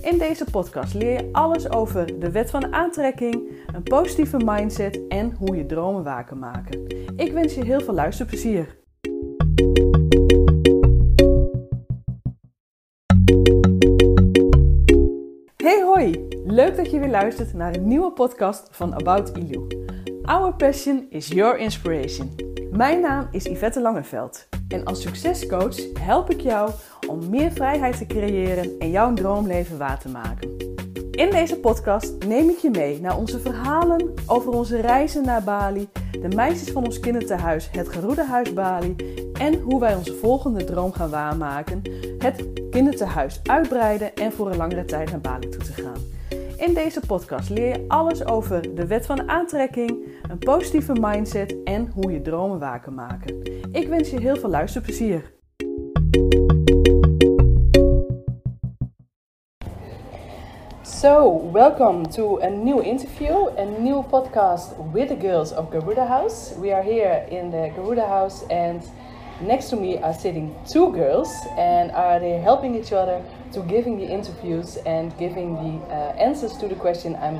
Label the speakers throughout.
Speaker 1: In deze podcast leer je alles over de wet van aantrekking, een positieve mindset en hoe je dromen waar kan maken. Ik wens je heel veel luisterplezier. Hey hoi, leuk dat je weer luistert naar een nieuwe podcast van About ILU. Our passion is your inspiration. Mijn naam is Yvette Langeveld en als succescoach help ik jou om meer vrijheid te creëren en jouw droomleven waar te maken. In deze podcast neem ik je mee naar onze verhalen over onze reizen naar Bali, de meisjes van ons kinderthuis, het Geroedehuis Bali en hoe wij onze volgende droom gaan waarmaken, het kinderthuis uitbreiden en voor een langere tijd naar Bali toe te gaan. In deze podcast leer je alles over de wet van aantrekking, een positieve mindset en hoe je dromen waar kan maken. Ik wens je heel veel luisterplezier. So, welcome to a new interview, a new podcast with the girls of Garuda House. We are here in the Garuda House, and next to me are sitting two girls, and are they helping each other to giving the interviews and giving the uh, answers to the question I'm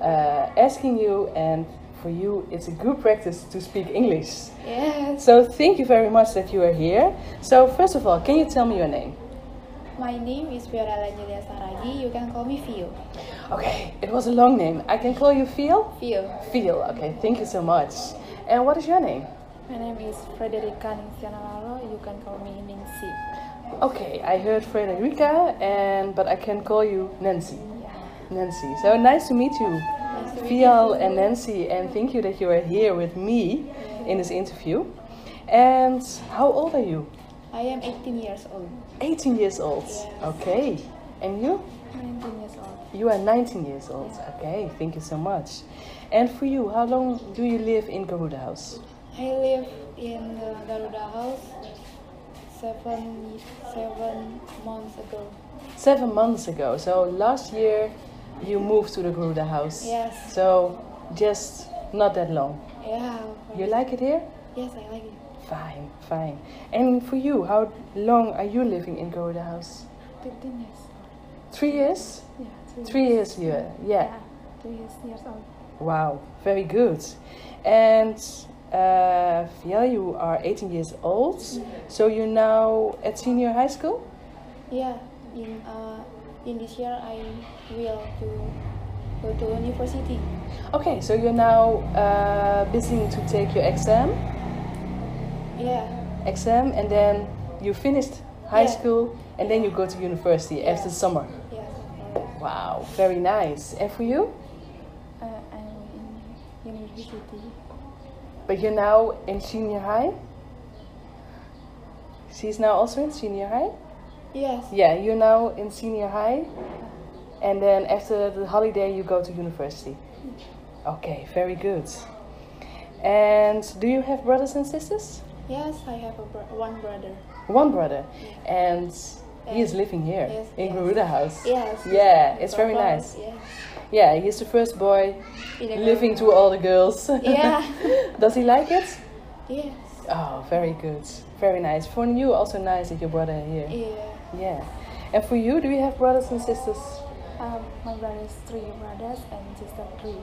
Speaker 1: uh, asking you. And for you, it's a good practice to speak English.
Speaker 2: Yes.
Speaker 1: So, thank you very much that you are here. So, first of all, can you tell me your name?
Speaker 2: My name is Fiora Langelia Saragi. You can call me Fio.
Speaker 1: Okay, it was a long name. I can call you Feel.
Speaker 2: Fio.
Speaker 1: Feel, okay, thank you so much. And what is your name?
Speaker 2: My name is Frederica Ningsianalaro. You can call me Ningsi.
Speaker 1: Okay, I heard Frederica, and but I can call you Nancy.
Speaker 2: Yeah.
Speaker 1: Nancy, so nice to meet you,
Speaker 2: Nice to meet
Speaker 1: Fial
Speaker 2: you.
Speaker 1: and Nancy, and thank you that you are here with me in this interview. And how old are you?
Speaker 2: I am 18 years old.
Speaker 1: 18 years old.
Speaker 2: Yes.
Speaker 1: Okay, and you?
Speaker 2: 19 years old.
Speaker 1: You are 19 years old. Okay, thank you so much. And for you, how long do you live in Garuda House?
Speaker 2: I live in the Garuda house seven seven months ago.
Speaker 1: Seven months ago. So last year, you moved to the Garuda House.
Speaker 2: Yes.
Speaker 1: So just not that long.
Speaker 2: Yeah.
Speaker 1: You like it here?
Speaker 2: Yes, I like it.
Speaker 1: Fine, fine. And for you, how long are you living in Garuda House?
Speaker 2: 15 years.
Speaker 1: Three years?
Speaker 2: Yeah.
Speaker 1: Three years here, yeah.
Speaker 2: Three years, years old.
Speaker 1: Wow, very good. And uh, yeah, you are 18 years old, so you're now at senior high school?
Speaker 2: Yeah, in uh, in this year I will to go to university.
Speaker 1: Okay, so you're now uh, busy to take your exam,
Speaker 2: Yeah,
Speaker 1: exam, and then you finished high
Speaker 2: Yeah.
Speaker 1: school, and then you go to university after
Speaker 2: Yeah.
Speaker 1: summer.
Speaker 2: yeah.
Speaker 1: Wow, very nice. And for you?
Speaker 2: Uh, I'm in university.
Speaker 1: But you're now in senior high? She's now also in senior high?
Speaker 2: Yes.
Speaker 1: Yeah, you're now in senior high. And then after the holiday, you go to university. Okay, very good. And do you have brothers and sisters?
Speaker 2: Yes, I have a bro- one brother.
Speaker 1: One brother. And he is living here
Speaker 2: Yes,
Speaker 1: in
Speaker 2: yes.
Speaker 1: Garuda House.
Speaker 2: Yes.
Speaker 1: Yeah, it's very
Speaker 2: Papa,
Speaker 1: nice.
Speaker 2: Yes.
Speaker 1: Yeah, he's the first boy
Speaker 2: In a
Speaker 1: living to
Speaker 2: girl-
Speaker 1: all the girls.
Speaker 2: Yeah.
Speaker 1: Does he like it?
Speaker 2: Yes.
Speaker 1: Oh, very good. Very nice. For you, also nice that your brother here.
Speaker 2: Yeah.
Speaker 1: Yeah. And for you, do you have brothers and sisters?
Speaker 2: Um, my brother is three brothers and sister three.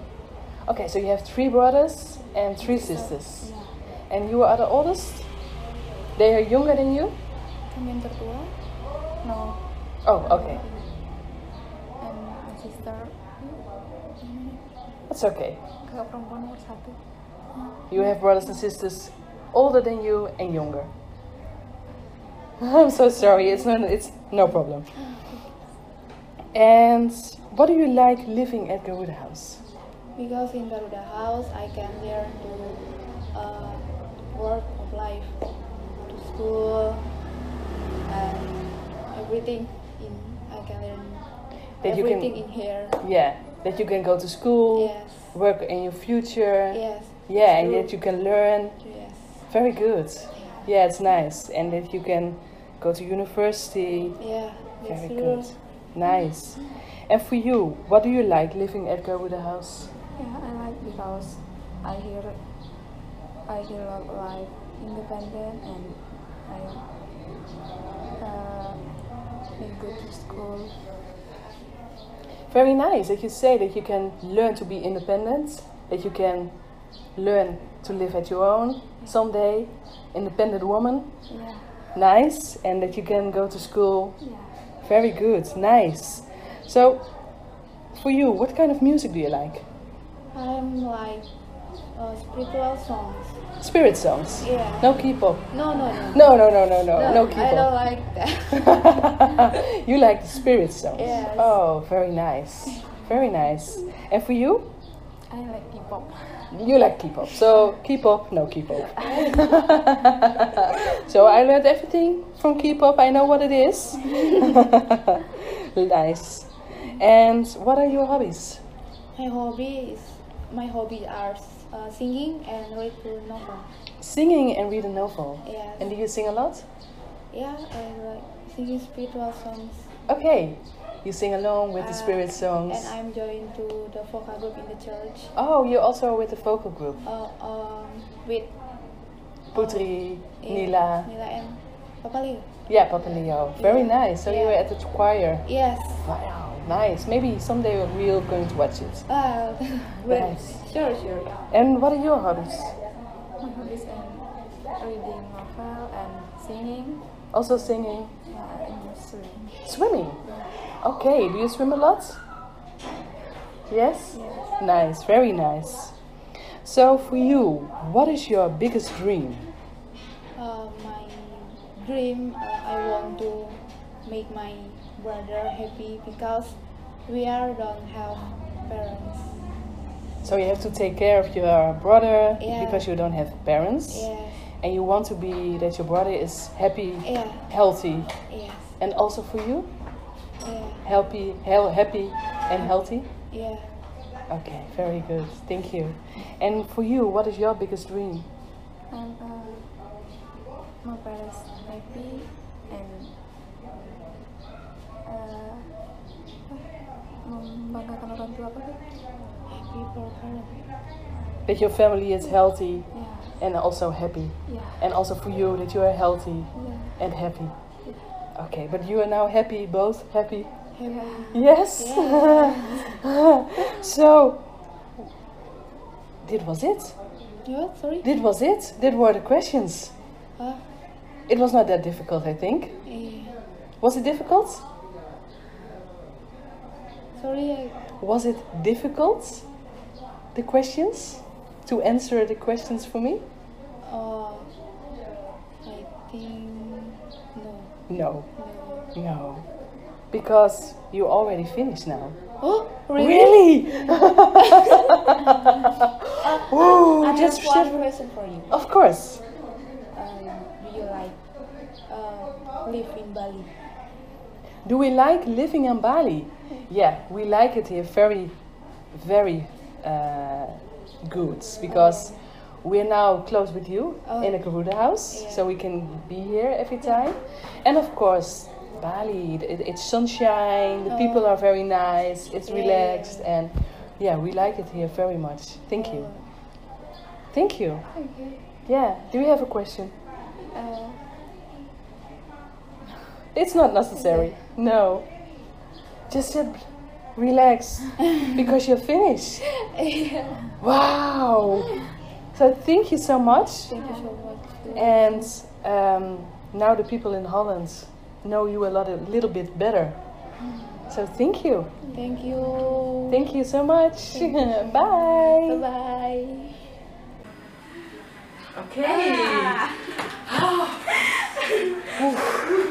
Speaker 1: Okay, so you have three brothers and three sisters.
Speaker 2: Yeah.
Speaker 1: And you are the oldest? They are younger than you?
Speaker 2: Kami yang tertua? No.
Speaker 1: Oh, okay.
Speaker 2: And my sister.
Speaker 1: That's okay.
Speaker 2: Kakak perempuan nomor satu.
Speaker 1: You have brothers and sisters older than you and younger. I'm so sorry. It's no, it's no problem. And what do you like living at Garuda House?
Speaker 2: Because in Garuda House, I can learn to uh, work of life, to school, and everything. In I can learn
Speaker 1: that you
Speaker 2: everything
Speaker 1: can
Speaker 2: in here.
Speaker 1: yeah that you can go to school
Speaker 2: Yes.
Speaker 1: work in your future
Speaker 2: Yes.
Speaker 1: yeah and
Speaker 2: True.
Speaker 1: that you can learn
Speaker 2: Yes.
Speaker 1: very good yeah it's nice and that you can go to university
Speaker 2: Yeah. That's
Speaker 1: very
Speaker 2: true.
Speaker 1: good nice and for you what do you like living at Garuda House
Speaker 3: Yeah, I like because I hear I hear of like independent and I uh, been good to school.
Speaker 1: Very nice that you say that you can learn to be independent, that you can learn to live at your own someday, independent woman.
Speaker 3: Yeah,
Speaker 1: Nice, and that you can go to school.
Speaker 3: yeah.
Speaker 1: Very good, nice. So, for you, what kind of music do you like?
Speaker 2: I'm like uh, spiritual songs.
Speaker 1: Spirit songs.
Speaker 2: Yeah.
Speaker 1: No K-pop.
Speaker 2: No, no, no.
Speaker 1: No, no, no, no, no, no
Speaker 2: I don't
Speaker 1: K-pop.
Speaker 2: like that.
Speaker 1: you like the spirit songs.
Speaker 2: Yes.
Speaker 1: Oh, very nice, very nice. And for you?
Speaker 3: I like people.
Speaker 1: You like K-pop, so K-pop, no K-pop. so I learned everything from K-pop. I know what it is. nice. And what are your hobbies?
Speaker 2: my hobby is my hobby are uh, singing and read the novel.
Speaker 1: Singing and read a novel.
Speaker 2: Yes.
Speaker 1: And do you sing a lot?
Speaker 2: yeah, I like singing spiritual songs.
Speaker 1: Okay. You sing along with the
Speaker 2: Uh,
Speaker 1: spirit songs.
Speaker 2: And I'm joined to the vocal group in the church.
Speaker 1: Oh, you also are with the vocal group.
Speaker 2: Uh, um, with
Speaker 1: Putri,
Speaker 2: eh,
Speaker 1: Nila.
Speaker 2: Nila and Papa Leo.
Speaker 1: Yeah, Papa Leo. Very
Speaker 2: Yeah.
Speaker 1: nice. So you
Speaker 2: Yeah.
Speaker 1: were at the choir.
Speaker 2: Yes.
Speaker 1: Wow, nice. Maybe someday we're going to watch it.
Speaker 2: Uh, great.
Speaker 1: Nice.
Speaker 2: Sure, sure.
Speaker 1: And what are your hobbies?
Speaker 3: My hobbies
Speaker 2: um,
Speaker 3: and reading novel and singing.
Speaker 1: Also singing,
Speaker 3: Yeah, and swimming.
Speaker 1: swimming. Okay, do you swim a lot? Yes? Nice, very nice. So for you, what is your biggest dream?
Speaker 2: Uh, my dream, uh, I want to make my brother happy because we are don't have parents.
Speaker 1: So you have to take care of your brother
Speaker 2: Yeah.
Speaker 1: because you don't have parents
Speaker 2: Yes,
Speaker 1: and you want to be that your brother is happy,
Speaker 2: yeah,
Speaker 1: healthy
Speaker 2: yes,
Speaker 1: and also for you,
Speaker 2: yeah,
Speaker 1: happy, hel- happy and healthy.
Speaker 2: yeah.
Speaker 1: Okay, very good. Thank you. And for you, what is your biggest dream?
Speaker 3: And uh, my parents happy and uh, membanggakan orang tua apa?
Speaker 2: Happy for her.
Speaker 1: That your family is
Speaker 3: Ya,
Speaker 1: healthy and also happy.
Speaker 3: ya,
Speaker 1: And also for you that you are healthy
Speaker 3: ya.
Speaker 1: and happy. Okay, but you are now happy, both happy.
Speaker 2: Happy.
Speaker 1: Yes. so dit was it.
Speaker 2: What? Sorry?
Speaker 1: Dit was it. Dit were the questions.
Speaker 2: Huh?
Speaker 1: It was not that difficult, I think.
Speaker 2: Eh,
Speaker 1: Was it difficult?
Speaker 2: sorry, I,
Speaker 1: Was it difficult? The questions? To answer the questions for me?
Speaker 2: uh, I think no,
Speaker 1: No.
Speaker 2: no.
Speaker 1: No. Because you already finished now.
Speaker 2: Oh, really?
Speaker 1: Really?
Speaker 2: Uh,
Speaker 1: Ooh,
Speaker 4: I
Speaker 1: that's
Speaker 4: have one question for you.
Speaker 1: Of course.
Speaker 4: Um, do you like uh, live in Bali?
Speaker 1: Do we like living in Bali? Yeah, we like it here very, very uh, good because we're now close with you
Speaker 2: Oh.
Speaker 1: in the Garuda house,
Speaker 2: Yeah.
Speaker 1: so we can be here every time. And of course, Bali, it, it's sunshine, the people are very nice, it's
Speaker 2: Oh. Yeah, yeah,
Speaker 1: relaxed, and yeah, we like it here very much. Thank you.
Speaker 2: Oh.
Speaker 1: Thank you.
Speaker 2: Uh,
Speaker 1: Yeah, do you have a question?
Speaker 3: Uh,
Speaker 1: It's not necessary. No. Just sit, relax, because you're finished. Wow. So thank you so much.
Speaker 2: Thank you so much.
Speaker 1: And um, now the people in Holland know you a lot, a little bit better. So thank you.
Speaker 2: Thank you.
Speaker 1: Thank you so much. Bye.
Speaker 2: Bye.
Speaker 1: Okay. Oh.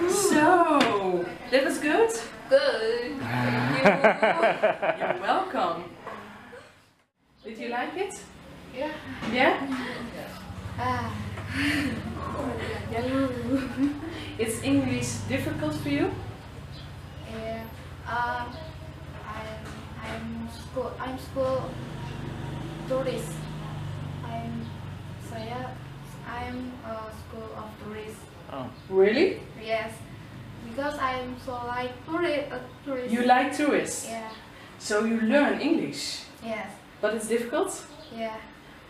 Speaker 1: so that was good.
Speaker 4: Good.
Speaker 1: You're welcome. Did you like it?
Speaker 2: Yeah. Ah.
Speaker 1: Yeah? Is English difficult for you?
Speaker 2: Yeah. Um, I'm school. I'm school tourist. I'm saya. I'm a school of tourist.
Speaker 1: Oh.
Speaker 5: Really?
Speaker 2: Yes, because I'm so like tourist. Uh, tourist.
Speaker 1: You like tourists,
Speaker 2: Yeah.
Speaker 1: so you learn English,
Speaker 2: Yes.
Speaker 1: but it's difficult.
Speaker 2: Yeah.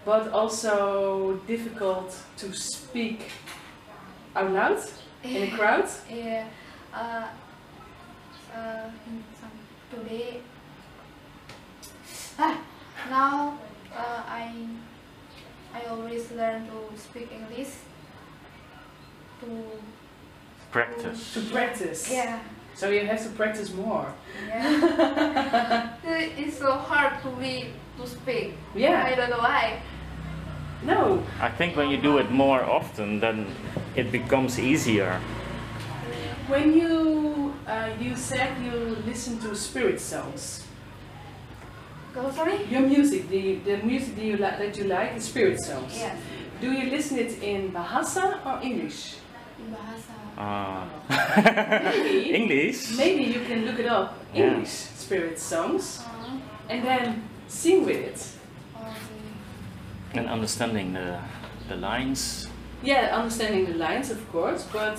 Speaker 1: But also difficult to speak out loud in a crowd.
Speaker 2: Yeah. Uh, uh, in some today. Ah, now uh, I I always learn to speak English. To
Speaker 6: Practice.
Speaker 1: To practice.
Speaker 2: yeah
Speaker 1: So you have to practice more.
Speaker 2: yeah. it's so hard to be to speak. I
Speaker 1: Yeah.
Speaker 2: don't know why.
Speaker 1: No.
Speaker 6: I think when you do it more often, then it becomes easier.
Speaker 1: When you uh, you said you listen to spirit songs,
Speaker 2: Go sorry.
Speaker 1: your music, the the music that you li- that you like, is spirit songs.
Speaker 2: Yes.
Speaker 1: Do you listen it in Bahasa or English?
Speaker 2: In bahasa.
Speaker 6: Uh,
Speaker 1: Maybe.
Speaker 6: English?
Speaker 1: Maybe you can look it up.
Speaker 6: Yeah.
Speaker 1: English spirit songs,
Speaker 2: Uh,
Speaker 1: and then sing with it.
Speaker 2: um,
Speaker 6: And understanding the, the lines.
Speaker 1: Yeah, understanding the lines, of course, but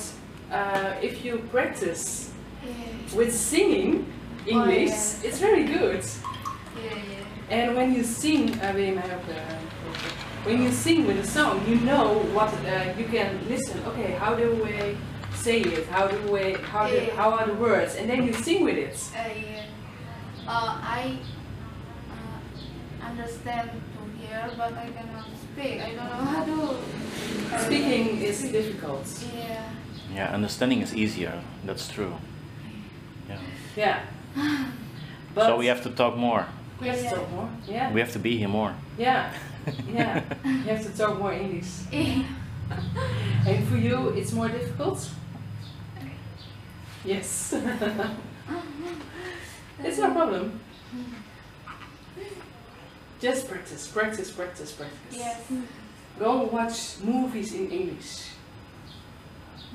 Speaker 1: uh, if you practice
Speaker 2: yeah.
Speaker 1: with singing English,
Speaker 2: yes.
Speaker 1: it's very good.
Speaker 2: Yeah. Yeah.
Speaker 1: And when you sing, uh, wil je mij ook, eh, when you sing with a song, you know what uh, you can listen. Okay, how do we say it? How do we? How do,
Speaker 2: Yeah.
Speaker 1: how are the words? And then you sing with it.
Speaker 2: I, uh, I uh, understand to hear, but I cannot speak. I don't know how to. uh,
Speaker 1: Speaking is difficult.
Speaker 2: Yeah.
Speaker 6: Yeah, understanding is easier. That's true. Yeah.
Speaker 1: Yeah. But
Speaker 6: so we have to talk more.
Speaker 1: we have to talk more. Yeah.
Speaker 6: We have to be here more.
Speaker 1: Yeah. Yeah. you have to talk more English. And for you, it's more difficult? Yes. it's no problem. Just practice, practice, practice, practice.
Speaker 2: yes.
Speaker 1: Go watch movies in English.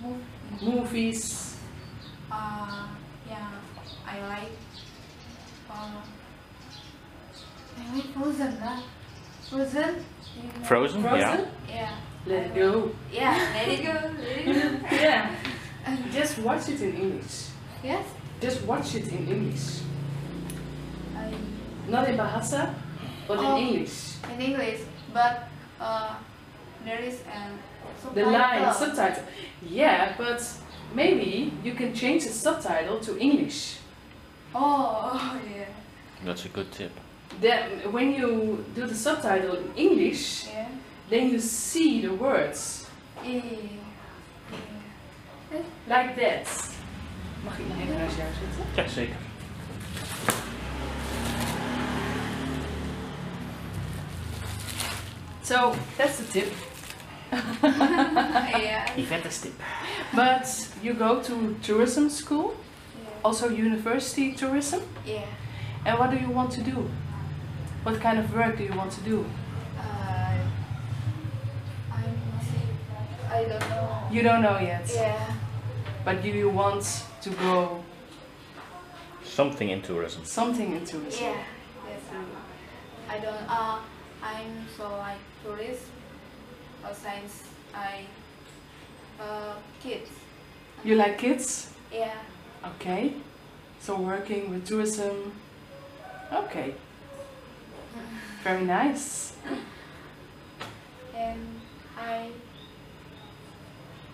Speaker 2: Move.
Speaker 1: Movies.
Speaker 2: Uh, yeah. I like. Uh, I like Frozen. Huh? Frozen. You know?
Speaker 6: Frozen?
Speaker 1: Frozen?
Speaker 2: Yeah.
Speaker 1: Let it go.
Speaker 2: Yeah. Let it go. Let it go.
Speaker 1: yeah. Just watch it in English.
Speaker 2: yes.
Speaker 1: Just watch it in English.
Speaker 2: I,
Speaker 1: Not in Bahasa, but
Speaker 2: Oh.
Speaker 1: in English.
Speaker 2: in English, but uh, there is an.
Speaker 1: The
Speaker 2: Oh
Speaker 1: line,
Speaker 2: subtitle.
Speaker 1: subtitle. Yeah, but maybe you can change the subtitle to English.
Speaker 2: Oh, yeah.
Speaker 6: Yeah. That's a good tip.
Speaker 1: Then when you do the subtitle in English,
Speaker 2: Yeah.
Speaker 1: then you see the words
Speaker 2: Yeah.
Speaker 1: like that. Mag ik nog even naast jou zitten?
Speaker 6: Ja, zeker.
Speaker 1: So that's the tip.
Speaker 2: Yeah. yeah.
Speaker 6: Yvette's tip.
Speaker 1: But you go to tourism school, also university tourism.
Speaker 2: Yeah.
Speaker 1: And what do you want to do? What kind of work do you want to do?
Speaker 2: Uh, I'm mostly, I don't know.
Speaker 1: You don't know yet,
Speaker 2: Yeah.
Speaker 1: but do you want to go
Speaker 6: Something in tourism.
Speaker 1: something in tourism?
Speaker 2: Yeah. Yes. I don't. Uh, I'm so like tourist. Uh, since I, uh, kids.
Speaker 1: You like kids?
Speaker 2: Yeah.
Speaker 1: Okay. So working with tourism. Okay. Very nice.
Speaker 2: And I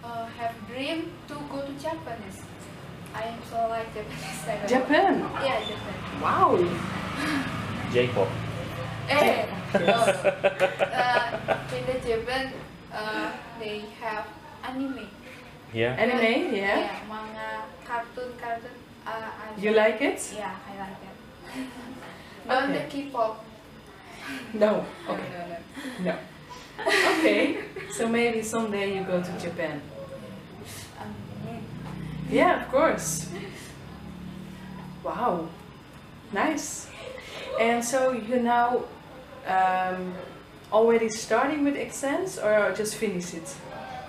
Speaker 2: uh, have dream to go to Japanese. I am so like Japanese. I don't know.
Speaker 1: Japan.
Speaker 2: Yeah, Japan.
Speaker 1: Wow.
Speaker 6: J-pop.
Speaker 2: Eh, oh, uh, in the Japan, uh, they have anime.
Speaker 6: Yeah.
Speaker 1: Anime, yeah.
Speaker 2: Yeah, manga, cartoon, cartoon. Uh, I
Speaker 1: You like it?
Speaker 2: Yeah, I like it. Not
Speaker 1: Okay.
Speaker 2: the K-pop.
Speaker 1: No. Okay.
Speaker 2: No, no, no.
Speaker 1: No. Okay. So maybe someday you go to Japan.
Speaker 2: Um,
Speaker 1: Yeah, of course. Wow. Nice. And so you now um, already starting with exams or just finish it?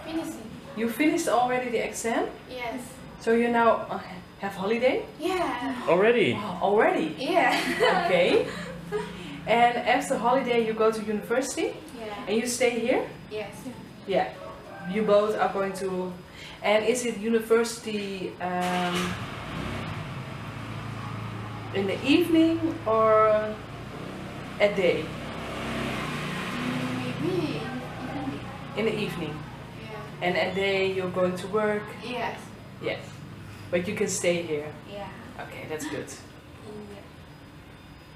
Speaker 2: finishing.
Speaker 1: You finished already the exam?
Speaker 2: Yes.
Speaker 1: So you now uh, have holiday?
Speaker 2: Yeah.
Speaker 6: Already?
Speaker 1: Wow, already?
Speaker 2: Yeah.
Speaker 1: Okay. and after holiday, you go to university
Speaker 2: Yeah.
Speaker 1: and you stay here?
Speaker 2: Yes.
Speaker 1: Yeah. You both are going to. And is it university um, in the evening or at day?
Speaker 2: Maybe. even ya, if-
Speaker 1: In the evening.
Speaker 2: Yeah.
Speaker 1: And at day, you're going to work?
Speaker 2: Yes.
Speaker 1: Yes. But you can stay here.
Speaker 7: Iya,
Speaker 2: Yeah.
Speaker 1: Okay, that's good.
Speaker 2: Iya.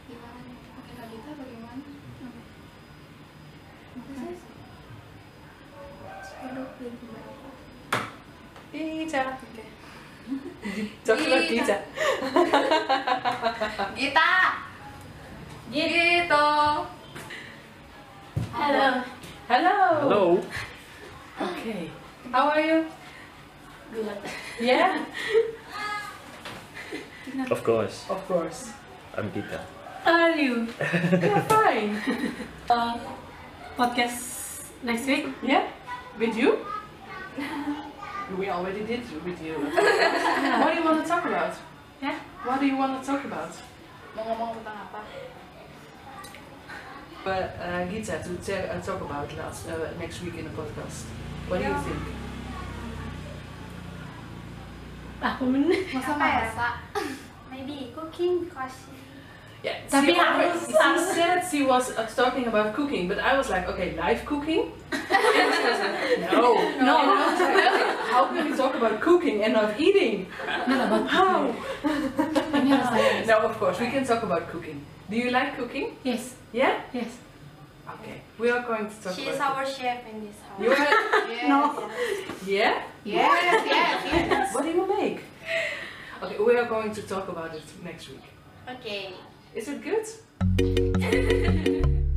Speaker 2: Gimana? Pakai Tabita bagaimana? Terus,
Speaker 1: Tita.
Speaker 2: Oke.
Speaker 1: Talk about
Speaker 2: Tita.
Speaker 1: Tita.
Speaker 2: Gita. Gitu. Halo.
Speaker 1: Hello.
Speaker 6: Hello.
Speaker 1: Okay. How are you?
Speaker 2: Good.
Speaker 1: Yeah?
Speaker 6: Of course.
Speaker 1: Of course.
Speaker 6: I'm Gita.
Speaker 8: How are you?
Speaker 1: Yeah, fine.
Speaker 8: Uh, podcast next week?
Speaker 1: Yeah? With you? We already did with you. what do you want to talk about?
Speaker 8: Yeah.
Speaker 1: What do you want to talk about?
Speaker 2: Mau ngomong tentang apa?
Speaker 1: But uh, Gita, to tell, uh, talk about last, uh, next week in the podcast. What
Speaker 2: Yeah.
Speaker 1: do you think?
Speaker 8: Aku men-
Speaker 2: Masa
Speaker 7: ya?
Speaker 2: masa.
Speaker 7: Maybe cooking because
Speaker 1: Yeah,
Speaker 8: Tapi
Speaker 1: she, already-
Speaker 8: harus- harus.
Speaker 1: she said she was uh, talking about cooking, but I was like, okay, live cooking? and she was like, no.
Speaker 8: No.
Speaker 1: And I was like, okay, how can we talk about cooking and not eating?
Speaker 8: Not about
Speaker 1: How?
Speaker 8: Ini harus tanya.
Speaker 1: No, of course, we can talk about cooking. Do you like cooking?
Speaker 8: Yes,
Speaker 1: Yeah?
Speaker 8: yes.
Speaker 1: Okay, we are going to talk
Speaker 7: she
Speaker 1: about
Speaker 7: is our chef in this house.
Speaker 1: You are,
Speaker 2: Yes.
Speaker 1: yeah?
Speaker 2: Yes, yes, yes.
Speaker 1: What do you make? Okay, we are going to talk about it next week.
Speaker 7: Okay.
Speaker 1: Is it good?